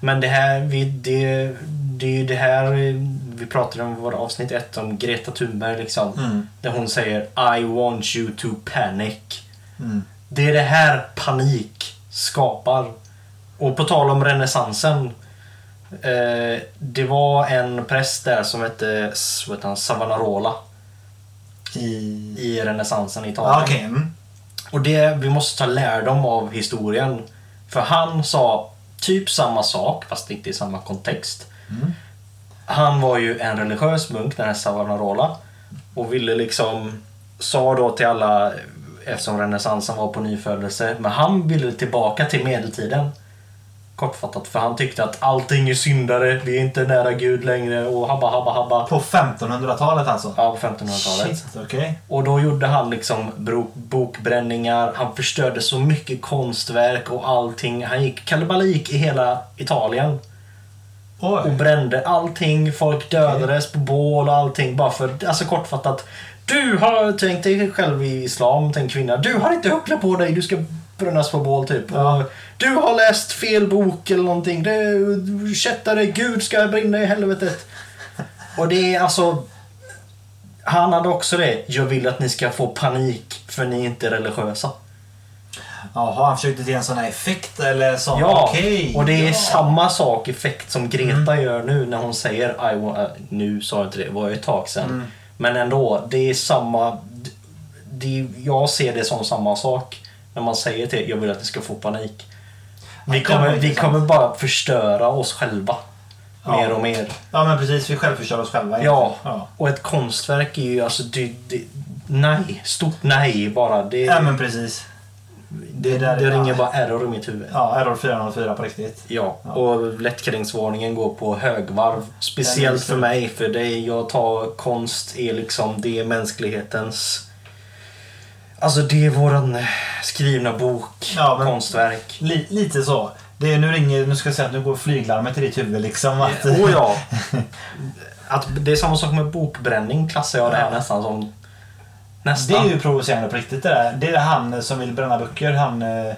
Speaker 1: Men det här, vi, det, det är ju det här eh, vi pratade om i vårt avsnitt ett om Greta Thunberg liksom.
Speaker 2: Mm.
Speaker 1: Där hon säger I want you to panic.
Speaker 2: Mm.
Speaker 1: Det är det här panik skapar. Och på tal om renässansen. Eh, det var en präst där som hette s- vad heter han, Savonarola
Speaker 2: I...
Speaker 1: i renässansen i Italien.
Speaker 2: Ja, okej. Mm.
Speaker 1: Och det, vi måste ta lärdom av historien. För han sa typ samma sak, fast inte i samma kontext. Han var ju en religiös munk, den här Savonarola. Och ville liksom, sa då till alla, eftersom renässansen var på nyfödelse, men han ville tillbaka till medeltiden. Kortfattat, för han tyckte att allting är syndare, vi är inte nära Gud längre och habba habba habba.
Speaker 2: På 1500-talet alltså?
Speaker 1: Ja, på 1500-talet.
Speaker 2: Shit, okej.
Speaker 1: Och då gjorde han liksom bro- bokbränningar, han förstörde så mycket konstverk och allting. Han gick kalabalik i hela Italien och
Speaker 2: Oj.
Speaker 1: brände allting. Folk dödades på bål och allting bara för, alltså kortfattat. Du har, tänk dig själv i islam, tänk kvinna. Du har inte huckla på dig, du ska brännas på bål typ. Och Du har läst fel bok eller någonting. Du kättare, Gud ska brinna i helvetet. Och det är alltså... Han hade också det. Jag vill att ni ska få panik för ni är inte religiösa.
Speaker 2: Jaha, han försökte till en sån här effekt eller sån?
Speaker 1: Ja,
Speaker 2: okej.
Speaker 1: och det är
Speaker 2: ja. Mm.
Speaker 1: samma sak effekt som Greta gör nu när hon säger I want, äh, Nu sa jag inte det, det var ju ett tag sedan.
Speaker 2: Mm.
Speaker 1: Men ändå, det är samma... Det, jag ser det som samma sak när man säger till jag vill att ni ska få panik. Vi
Speaker 2: det var
Speaker 1: kommer, vi
Speaker 2: intressant.
Speaker 1: kommer bara förstöra oss själva.
Speaker 2: Ja.
Speaker 1: Mer och mer.
Speaker 2: Ja, men precis. Vi självförstör oss själva.
Speaker 1: Ja,
Speaker 2: ja.
Speaker 1: och ett konstverk är ju alltså... Det, det, nej, stort nej bara. Det,
Speaker 2: Ja, men precis.
Speaker 1: det, det,
Speaker 2: det där är-
Speaker 1: ringer
Speaker 2: ja.
Speaker 1: bara error i mitt huvud.
Speaker 2: Ja, Error 404 på riktigt.
Speaker 1: Ja,
Speaker 2: Ja.
Speaker 1: och lättkränktsvarningen går på högvarv.
Speaker 2: Den är
Speaker 1: Speciellt
Speaker 2: stor.
Speaker 1: för mig, för det jag tar konst är liksom det är mänsklighetens... Alltså det är våran skrivna bok,
Speaker 2: Ja, men-
Speaker 1: konstverk.
Speaker 2: Li- lite så. Det är, nu ringer, nu ska jag säga att nu går flyglarmet i ditt huvud liksom. Att,
Speaker 1: Oh ja! Att det är samma sak med bokbränning klassar jag det här
Speaker 2: Ja.
Speaker 1: nästan som...
Speaker 2: Det är
Speaker 1: Nästan.
Speaker 2: ju provocerande på riktigt det där. Det är han eh, som vill bränna böcker. Han, eh,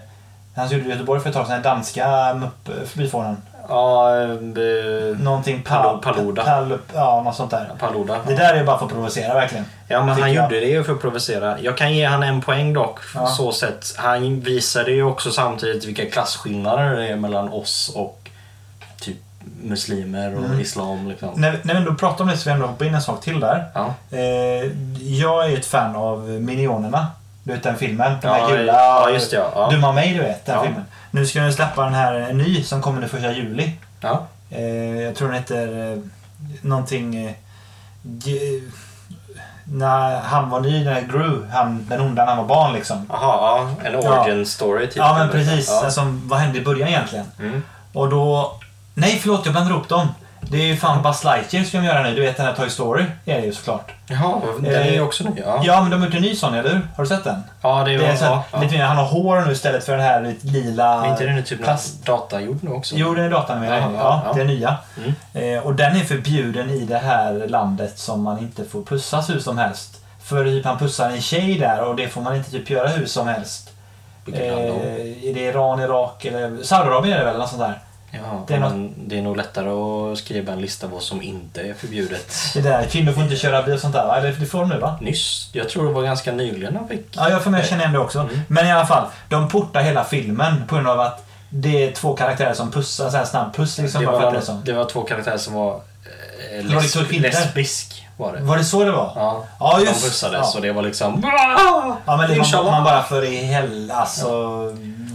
Speaker 2: han som gjorde det i Göteborg för ett tag sedan. Danska mupp- förbifararen.
Speaker 1: Ja, eh,
Speaker 2: Någonting
Speaker 1: Palo-
Speaker 2: pal-
Speaker 1: Paluda.
Speaker 2: Pal, ja, något sånt där.
Speaker 1: Paluda.
Speaker 2: Det där är ju bara för att provocera verkligen.
Speaker 1: Ja, men han
Speaker 2: tycker jag.
Speaker 1: gjorde det ju för att provocera. Jag kan ge han en poäng dock.
Speaker 2: Ja.
Speaker 1: Så sett. Han visade ju också samtidigt vilka klasskillnader det är mellan oss och typ muslimer
Speaker 2: Mm.
Speaker 1: och islam. Liksom.
Speaker 2: När, när vi ändå pratar om det så vill jag ändå hoppa in en sak till där.
Speaker 1: Ja.
Speaker 2: Eh, jag är ju ett fan av Minionerna. Du vet den filmen? Den
Speaker 1: Ja,
Speaker 2: där gula...
Speaker 1: ja, just det, ja. Ja.
Speaker 2: Dumma mig du vet, den
Speaker 1: Ja.
Speaker 2: filmen. Nu ska den släppa den här en ny som kommer den första juli.
Speaker 1: Ja.
Speaker 2: Eh, jag tror den heter eh, någonting... Eh, G- när han var ny, när Gru, han, den onda när han var barn liksom.
Speaker 1: Aha, ja. En origin story typ.
Speaker 2: Ja men precis,
Speaker 1: Ja.
Speaker 2: alltså, vad hände i början egentligen?
Speaker 1: Mm.
Speaker 2: Och då... Nej förlåt, jag blandade ihop dem. Det är ju fan Buzz Lightyear som gör det nu. Du vet den här Toy Story? Det är det ju såklart.
Speaker 1: Jaha, den är ju också ny. Ja,
Speaker 2: Eh, Ja, men de har gjort en ny sån, eller hur? Har du sett den?
Speaker 1: ja det är,
Speaker 2: Det är så här,
Speaker 1: ja, ja.
Speaker 2: lite mer, han har hår nu istället för den här lite lila...
Speaker 1: Men inte den är typ
Speaker 2: plast.
Speaker 1: plast. datagjord nu också?
Speaker 2: Jo, den är dataanimerad.
Speaker 1: Ja,
Speaker 2: Ja,
Speaker 1: ja, ja.
Speaker 2: det är nya.
Speaker 1: Mm.
Speaker 2: Eh, och den är förbjuden i det här landet som man inte får pussas hur som helst. För typ han pussar en tjej där och det får man inte typ göra hur som helst.
Speaker 1: Vilket
Speaker 2: Eh,
Speaker 1: land då?
Speaker 2: är det Iran, Irak eller Saudiarabien är det väl? Något sånt där.
Speaker 1: Ja,
Speaker 2: det är
Speaker 1: men det är nog lättare att skriva en lista vad som inte är förbjudet.
Speaker 2: Det där, kvinnor får inte köra bil och sånt där va? Eller det får de nu va?
Speaker 1: Nyss, jag tror det var ganska nyligen han fick.
Speaker 2: Ja, jag får med känna igen det också.
Speaker 1: Mm.
Speaker 2: Men i alla fall, de portar hela filmen på grund av att det är två karaktärer som pussar, en sån här snabb puss liksom.
Speaker 1: det,
Speaker 2: bara för att det är
Speaker 1: var,
Speaker 2: som.
Speaker 1: det var två karaktärer som var eh,
Speaker 2: Det var
Speaker 1: lesb-
Speaker 2: lite skillnad.
Speaker 1: lesbisk. Var det.
Speaker 2: Var det så det var?
Speaker 1: Ja,
Speaker 2: Ja,
Speaker 1: de
Speaker 2: just-
Speaker 1: pussades
Speaker 2: ja.
Speaker 1: och det var liksom...
Speaker 2: Ja, men det man,
Speaker 1: Inshallah.
Speaker 2: man bara för i hela alltså...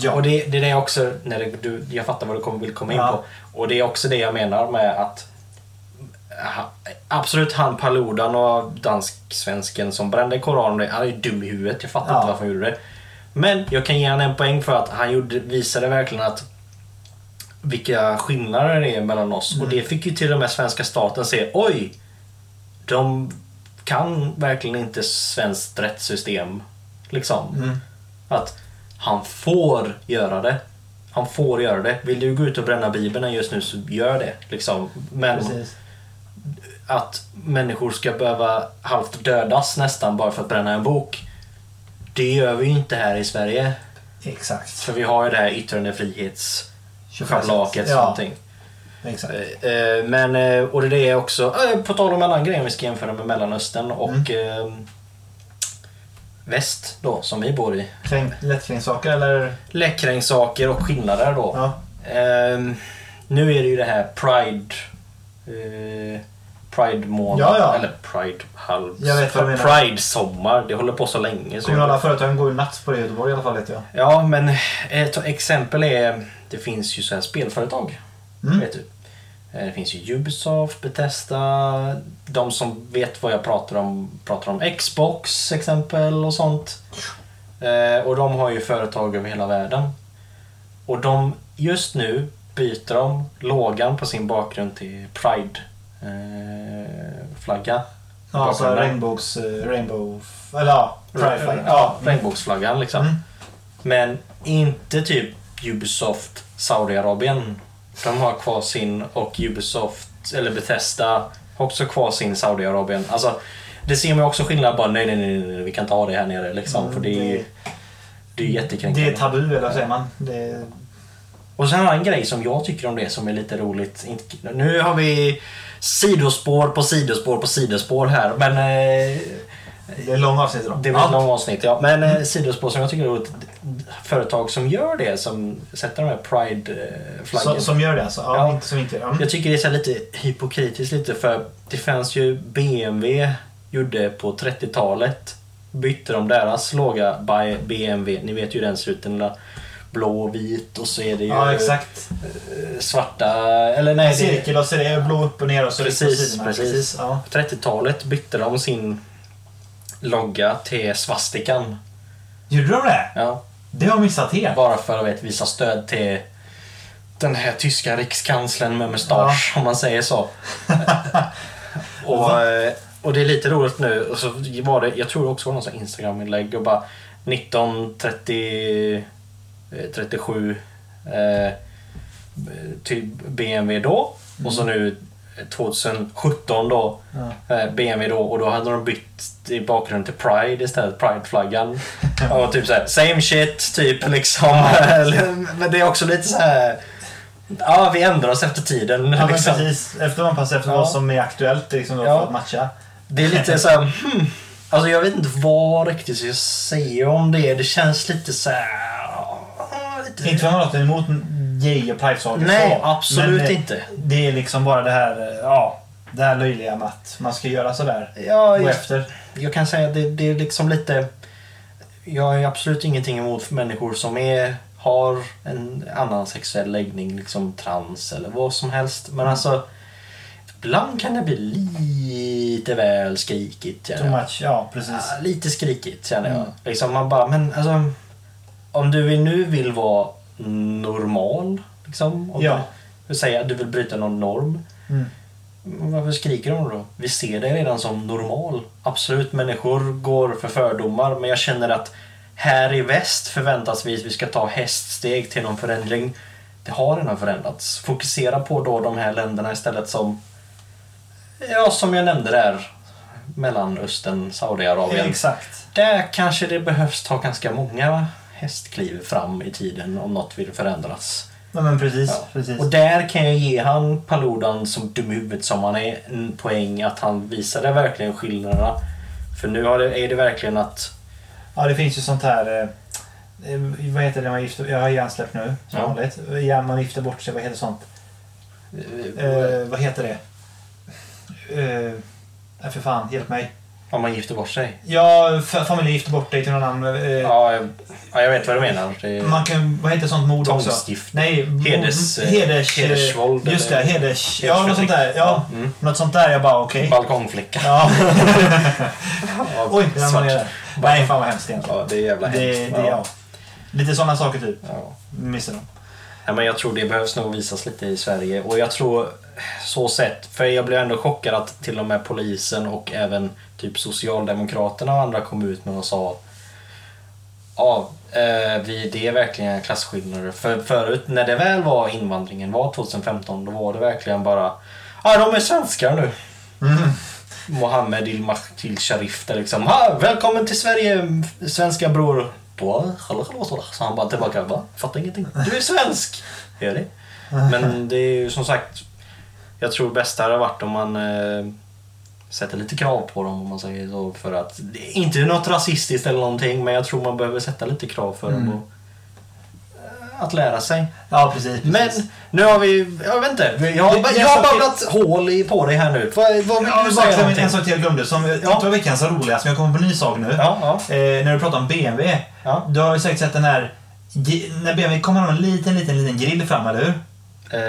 Speaker 2: Ja.
Speaker 1: Och det, det är det jag också, när det, du, jag fattar vad du kommer, vill komma in
Speaker 2: Ja.
Speaker 1: på. Och det är också det jag menar med att ha, absolut han Paludan och dansk-svensken som brände Koranen, han är ju dum i huvudet. Jag fattar
Speaker 2: Ja.
Speaker 1: inte varför han gjorde det. Men jag kan ge honom en poäng för att han gjorde, visade verkligen att vilka skillnader det är mellan oss.
Speaker 2: Mm.
Speaker 1: Och det fick ju till och med svenska staten se. Oj! De kan verkligen inte svenskt rättssystem. Liksom.
Speaker 2: Mm.
Speaker 1: Att han får göra det. Han får göra det. Vill du gå ut och bränna bibeln just nu så gör det. Liksom. Men
Speaker 2: Precis.
Speaker 1: att människor ska behöva halvt dödas nästan bara för att bränna en bok. Det gör vi ju inte här i Sverige.
Speaker 2: Exakt.
Speaker 1: För vi har ju det här yttrandefrihetsschabraket.
Speaker 2: ja,
Speaker 1: någonting.
Speaker 2: exakt.
Speaker 1: Eh, eh, Men, eh, och det är det jag också, eh, på tal om en annan grej vi ska jämföra med Mellanöstern och
Speaker 2: Mm.
Speaker 1: eh, väst då, som vi bor i.
Speaker 2: Kräng, lättkränkssaker eller?
Speaker 1: Läckrängsaker och skillnader då.
Speaker 2: Ja.
Speaker 1: Ehm, nu är det ju det här Pride... Eh, Pride månad.
Speaker 2: Ja, ja.
Speaker 1: Eller Pride halv...
Speaker 2: Jag vet vad du menar.
Speaker 1: Pride sommar. Det håller på så länge. Så
Speaker 2: Kommunala företagen går ju natt på det i Göteborg i alla fall vet jag.
Speaker 1: Ja, men ett exempel är... Det finns ju så här spelföretag.
Speaker 2: Mm.
Speaker 1: Vet du. Eh, Det finns ju Ubisoft, Bethesda. De som vet vad jag pratar om pratar om Xbox exempel och sånt. Eh, Och de har ju företag över hela världen. Och de, just nu byter de lågan på sin bakgrund till eh, Pride-flagga.
Speaker 2: Ja, alltså regnbågs... eh, Rainbow... Eller ja, pride flag. Ja.
Speaker 1: regnbågsflaggan liksom.
Speaker 2: Mm.
Speaker 1: Men inte typ Ubisoft Saudiarabien. De har kvar sin och Ubisoft, eller Bethesda, har också kvar sin Saudiarabien. Alltså, det ser man ju också skillnad bara nej, nej, nej, nej, vi kan inte ha det här nere liksom.
Speaker 2: Mm,
Speaker 1: för det är ju
Speaker 2: det-
Speaker 1: det är ju jättekränkande.
Speaker 2: Det är tabu eller vad säger man? Det,
Speaker 1: Och sen en annan grej som jag tycker om det som är lite roligt. Inte- Nu har vi sidospår på sidospår på sidospår här. Men eh,
Speaker 2: det är långa avsnitt idag.
Speaker 1: det blir ett långt avsnitt. Ja. Men eh, sidospår som jag tycker är roligt. Företag som gör det, som sätter de här
Speaker 2: som,
Speaker 1: Pride-flaggorna.
Speaker 2: som gör det alltså? Ja,
Speaker 1: Ja.
Speaker 2: Inte, som inte gör det.
Speaker 1: Jag tycker det är så här lite hypokritiskt lite för det fanns ju BMW gjorde på 30-talet. Bytte de deras låga by BMW. Ni vet ju hur den ser ut. Den där blå och vit och så är det ju
Speaker 2: Ja, exakt.
Speaker 1: svarta... Eller nej,
Speaker 2: En
Speaker 1: det-
Speaker 2: cirkel och så är det blå upp och ner och så är det på
Speaker 1: Precis,
Speaker 2: sidorna.
Speaker 1: precis.
Speaker 2: Ja.
Speaker 1: På 30-talet bytte de sin logga till svastikan.
Speaker 2: Gjorde de det?
Speaker 1: Ja,
Speaker 2: Det har jag missat helt.
Speaker 1: bara för att vet, visa stöd till den här tyska rikskanslern med mustasch, om man säger så. och, eh, och det är lite roligt nu. Och så var det, jag tror det också var någon sån här Instagram-inlägg och bara 1937 eh, typ BMW då och
Speaker 2: Mm.
Speaker 1: så nu 2017 då eh, BMW då och då hade de bytt i bakgrunden till Pride istället, Pride-flaggan. och typ såhär, same shit, typ liksom. men det är också lite så här. ja vi ändrar oss efter tiden.
Speaker 2: Ja, men
Speaker 1: liksom.
Speaker 2: precis. Efter man passar efter
Speaker 1: Ja.
Speaker 2: vad som är aktuellt liksom, då,
Speaker 1: Ja.
Speaker 2: för att matcha.
Speaker 1: Det är lite så här, hmm. Alltså jag vet inte vad riktigt jag säger om det. Det känns lite så här. ah, lite-
Speaker 2: Inte för att man låter emot gay och pride-saker
Speaker 1: Nej,
Speaker 2: så,
Speaker 1: absolut
Speaker 2: men, eh,
Speaker 1: inte.
Speaker 2: Det är liksom bara det här, eh, ja, det här löjliga med att man ska göra sådär.
Speaker 1: Ja,
Speaker 2: Gå
Speaker 1: jag,
Speaker 2: efter.
Speaker 1: jag kan säga att det, det är liksom lite... Jag är absolut ingenting emot människor som är, har en annan sexuell läggning, liksom trans eller vad som helst. Men alltså, ibland kan det bli lite väl skrikigt. känner
Speaker 2: Too
Speaker 1: jag.
Speaker 2: much. Ja, precis. Mm.
Speaker 1: Ja, lite skrikigt känner jag. Liksom man bara, men alltså, om du vill- nu vill vara normal, liksom, om
Speaker 2: Ja.
Speaker 1: du vill säga att du vill bryta någon norm,
Speaker 2: Mm.
Speaker 1: Men Varför skriker de då? Vi ser dig redan som normal. Absolut, människor går för fördomar men jag känner att här i väst förväntas vi att vi ska ta häststeg till någon förändring. Det har redan förändrats. Fokusera på då de här länderna istället som, ja som jag nämnde där, Mellanöstern, Saudiarabien.
Speaker 2: Exakt.
Speaker 1: Där kanske det behövs ta ganska många hästkliv fram i tiden om något vill förändras.
Speaker 2: Ja, men precis.
Speaker 1: Ja.
Speaker 2: precis.
Speaker 1: Och där kan jag ge han Paludan som dum i huvudet som han är en poäng att han visade verkligen skillnaderna. För nu har det, är det verkligen att...
Speaker 2: Ja, det finns ju sånt här... eh, Eh, vad heter det man gifter... Jag har hjärnsläpp nu, som
Speaker 1: Ja.
Speaker 2: vanligt. Ja, man gifter bort sig, vad heter sånt? Eh, vad heter det? Eh, nej, för fan, hjälp mig.
Speaker 1: Om man gifter bort
Speaker 2: Eh.
Speaker 1: sig.
Speaker 2: Ja, f- familj gifter bort dig till någon annan. Eh,
Speaker 1: Ja, jag, ja, jag vet vad du menar. Det,
Speaker 2: Man kan... Vad heter sånt mord också?
Speaker 1: Tvångsgift.
Speaker 2: Nej, mord-
Speaker 1: Heders- eh,
Speaker 2: heders, eh,
Speaker 1: hedersvåld
Speaker 2: Just det,
Speaker 1: eller-
Speaker 2: heders... Ja, något sånt där. Ja,
Speaker 1: Mm.
Speaker 2: Något sånt där, jag bara okej.
Speaker 1: Balkongflicka.
Speaker 2: Ja.
Speaker 1: Ja,
Speaker 2: Oj, den var
Speaker 1: svart.
Speaker 2: nere. Nej, fan vad hemskt egentligen.
Speaker 1: Ja, det är jävla
Speaker 2: Det,
Speaker 1: hemskt.
Speaker 2: det, ja. Lite sådana saker typ.
Speaker 1: Ja.
Speaker 2: Missar de.
Speaker 1: Ja, men jag tror det behövs nog visas lite i Sverige och jag tror så sett, för jag blev ändå chockad att till och med polisen och även typ Socialdemokraterna och andra kom ut med och sa Ja, eh, vi, det är verkligen klasskillnader. För förut när det väl var invandringen var 2015 då var det verkligen bara Ja, de är svenskar nu. Mohammed Ilmahtil Sharif där liksom. Ha, välkommen till Sverige svenska bror. Då, hallå, hallå, hallå. Så han bara tillbaka. Va? Fattar ingenting. Du är svensk! Gör det. Men det är ju som sagt. Jag tror bäst hade varit om man eh, sätter lite krav på dem om man säger så. För att, det är inte något rasistiskt eller någonting men jag tror man behöver sätta lite krav för dem. Och, eh, att lära sig.
Speaker 2: Ja, precis.
Speaker 1: Men
Speaker 2: precis.
Speaker 1: nu har vi, jag vet inte, jag
Speaker 2: Det-
Speaker 1: har,
Speaker 2: det-
Speaker 1: jag har babblat hål i, på dig här nu. Vad, vad vill
Speaker 2: Ja,
Speaker 1: du
Speaker 2: men
Speaker 1: säga
Speaker 2: bara en,
Speaker 1: någonting?
Speaker 2: en sak till jag glömde som jag tror var veckans roligaste, men jag kommer på en ny sak nu.
Speaker 1: Ja, ja.
Speaker 2: Eh, när du pratar om BMW.
Speaker 1: Ja.
Speaker 2: Du har ju säkert sett den här... gri- När BMW kommer ha en liten, liten, liten grill fram, eller hur?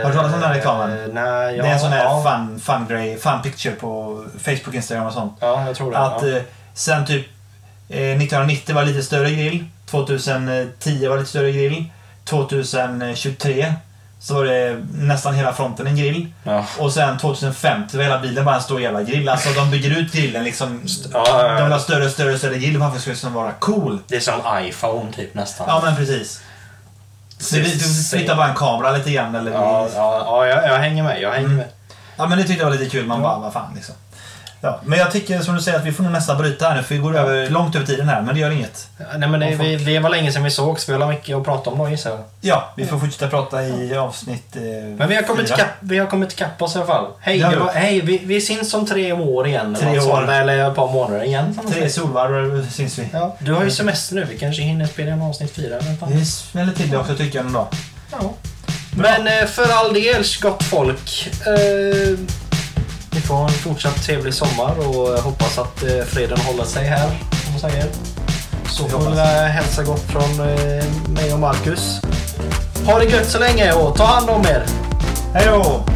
Speaker 1: Har
Speaker 2: du talat om den här reklamen?
Speaker 1: Eh, nej, ja,
Speaker 2: det är en sån här
Speaker 1: ja,
Speaker 2: fun, fun grej, fun picture på Facebook, Instagram och sånt.
Speaker 1: ja, jag tror det.
Speaker 2: Att
Speaker 1: ja.
Speaker 2: eh, sen typ eh, 1990 var lite större grill. 2010 var lite större grill. 2023 så var det nästan hela fronten en grill.
Speaker 1: Ja.
Speaker 2: Och sen 2050 var hela bilen bara en stor jävla grill. Alltså de bygger ut grillen liksom.
Speaker 1: Ja, ja, ja.
Speaker 2: De vill ha större och större och större grill. Varför ska det liksom vara cool?
Speaker 1: Det är som iPhone typ nästan.
Speaker 2: Ja men precis. Så du, du flyttar bara en kamera lite grann eller...
Speaker 1: Ja, ja, ja jag, jag hänger med. Jag hänger
Speaker 2: Mm.
Speaker 1: med.
Speaker 2: Ja men det tyckte jag var lite kul. Man bara, vad fan liksom. Ja, men jag tycker som du säger att vi får nog nästan bryta här nu för vi går över, långt över tiden här men det gör inget.
Speaker 1: Nej, men det,
Speaker 2: Och folk-
Speaker 1: vi, det var länge sedan vi sågs. Vi har mycket att prata om då gissar jag.
Speaker 2: Ja, vi får fortsätta prata i avsnitt eh,
Speaker 1: Men vi har kommit,
Speaker 2: fyra.
Speaker 1: kapp, vi har kommit kapp oss i alla fall. Hej,
Speaker 2: Ja.
Speaker 1: det var, hej vi, vi syns om tre år igen.
Speaker 2: Tre
Speaker 1: eller något
Speaker 2: år.
Speaker 1: sånt, Eller ett par månader igen. som man
Speaker 2: Tre
Speaker 1: säger.
Speaker 2: solvarv eh, syns vi.
Speaker 1: Ja, du har ju semester nu. Vi kanske hinner spela in avsnitt fyra. eller fan.
Speaker 2: Vi smäller till det också tycker jag ändå.
Speaker 1: Ja. Men eh, för all del, gott folk. Eh, ni får ha en fortsatt trevlig sommar och eh, hoppas att eh, freden håller sig här. Som man säger. Så
Speaker 2: Vi
Speaker 1: får
Speaker 2: hoppas.
Speaker 1: vi eh, hälsa gott från eh, mig och Marcus. Ha det gött så länge och ta hand om er.
Speaker 2: Hej då!